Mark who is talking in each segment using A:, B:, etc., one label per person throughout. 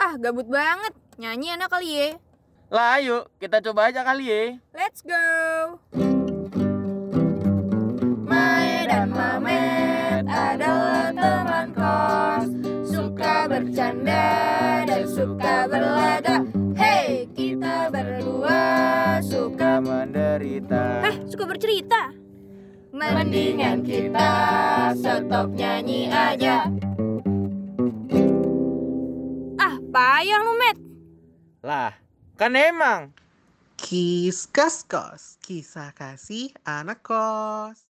A: Ah, gabut banget. Nyanyi enak kali ya.
B: Lah ayo, kita coba aja kali ya.
A: Let's go. Mae dan Mamet adalah teman kos, suka bercanda dan suka berlaga. Hey, kita berdua suka
B: Suka menderita.
A: Eh, suka bercerita. Mendingan kita stop nyanyi aja. Ah, payah lu, Met.
B: Lah, kan emang.
C: Kis Kas Kos, kisah kasih anak kos.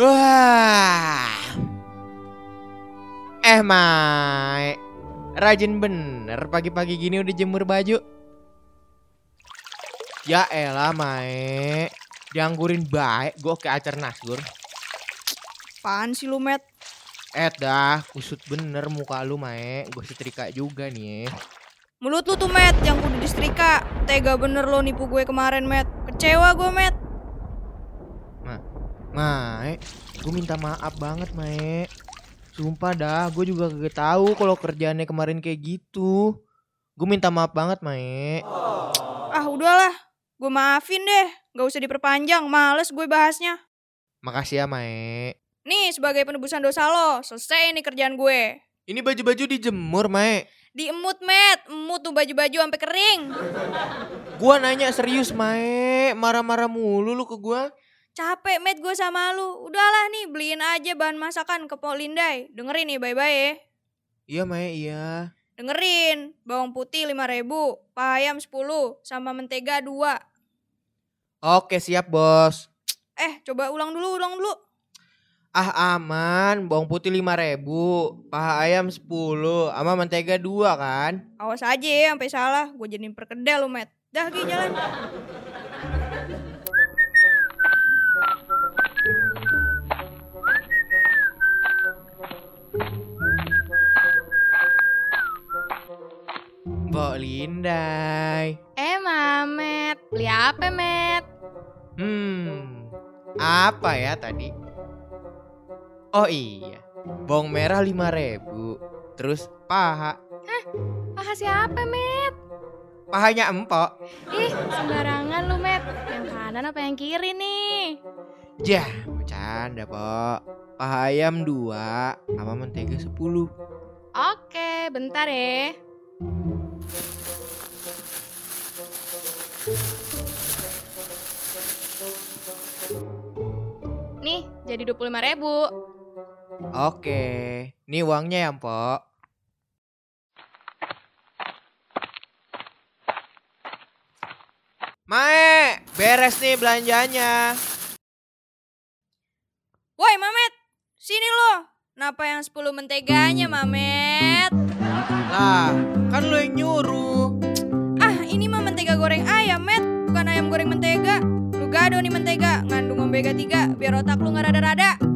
D: Wah. Eh, Mai. Rajin bener pagi-pagi gini udah jemur baju. Ya elah, Mai. Dianggurin baik gue ke acar nasgur.
A: Apaan sih lu, Met?
D: Eh dah, kusut bener muka lu, Mai. Gue setrika juga nih. ya.
A: Mulut lu tuh, Met, yang kudu disetrika. Tega bener lo nipu gue kemarin, Met. Kecewa gue, Met.
D: Mae, gue minta maaf banget, Mae. Sumpah dah, gue juga kagak tahu kalau kerjaannya kemarin kayak gitu. Gue minta maaf banget, Mae.
A: Ah, udahlah. Gue maafin deh. Gak usah diperpanjang, males gue bahasnya.
D: Makasih ya, Mae.
A: Nih, sebagai penebusan dosa lo, selesai nih kerjaan gue.
D: Ini baju-baju dijemur, Mae.
A: Diemut, Met. Emut tuh baju-baju sampai kering.
D: Gua nanya serius, Mae. Marah-marah mulu lu ke gua.
A: Capek met gue sama lu. Udahlah nih beliin aja bahan masakan ke Pok Lindai. Dengerin nih bye-bye ya.
D: Iya, Mae, iya.
A: Dengerin. Bawang putih 5000, paha ayam 10, sama mentega 2.
D: Oke, siap, Bos.
A: Eh, coba ulang dulu, ulang dulu.
D: Ah, aman. Bawang putih 5.000, paha ayam 10, sama mentega 2 kan?
A: Awas aja ya sampai salah. Gue jadi perkedel lu, Met. Dah, Gi, jalan.
D: Mbok Lindai.
E: Eh, Mamet, beli apa, Met?
D: Hmm, apa ya tadi? Oh iya, bawang merah 5000 Terus paha,
E: Paha siapa, Met?
D: pahanya empok
E: Ih, sembarangan lu, Met. Yang kanan apa yang kiri nih?
D: Jah, bercanda pok Paha ayam 2 sama mentega 10
E: Oke, bentar ya. Nih, jadi 25 ribu.
D: Oke, ini uangnya ya empok Mae, beres nih belanjanya
A: Woi, Mamet. Sini lo. Kenapa yang 10 menteganya, Mamet?
D: Lah, kan lo yang nyuruh
A: Ah, ini mah mentega goreng ayam, Met. Bukan ayam goreng mentega. Lu gado nih mentega. Ngandung omega 3 biar otak lu nggak rada-rada.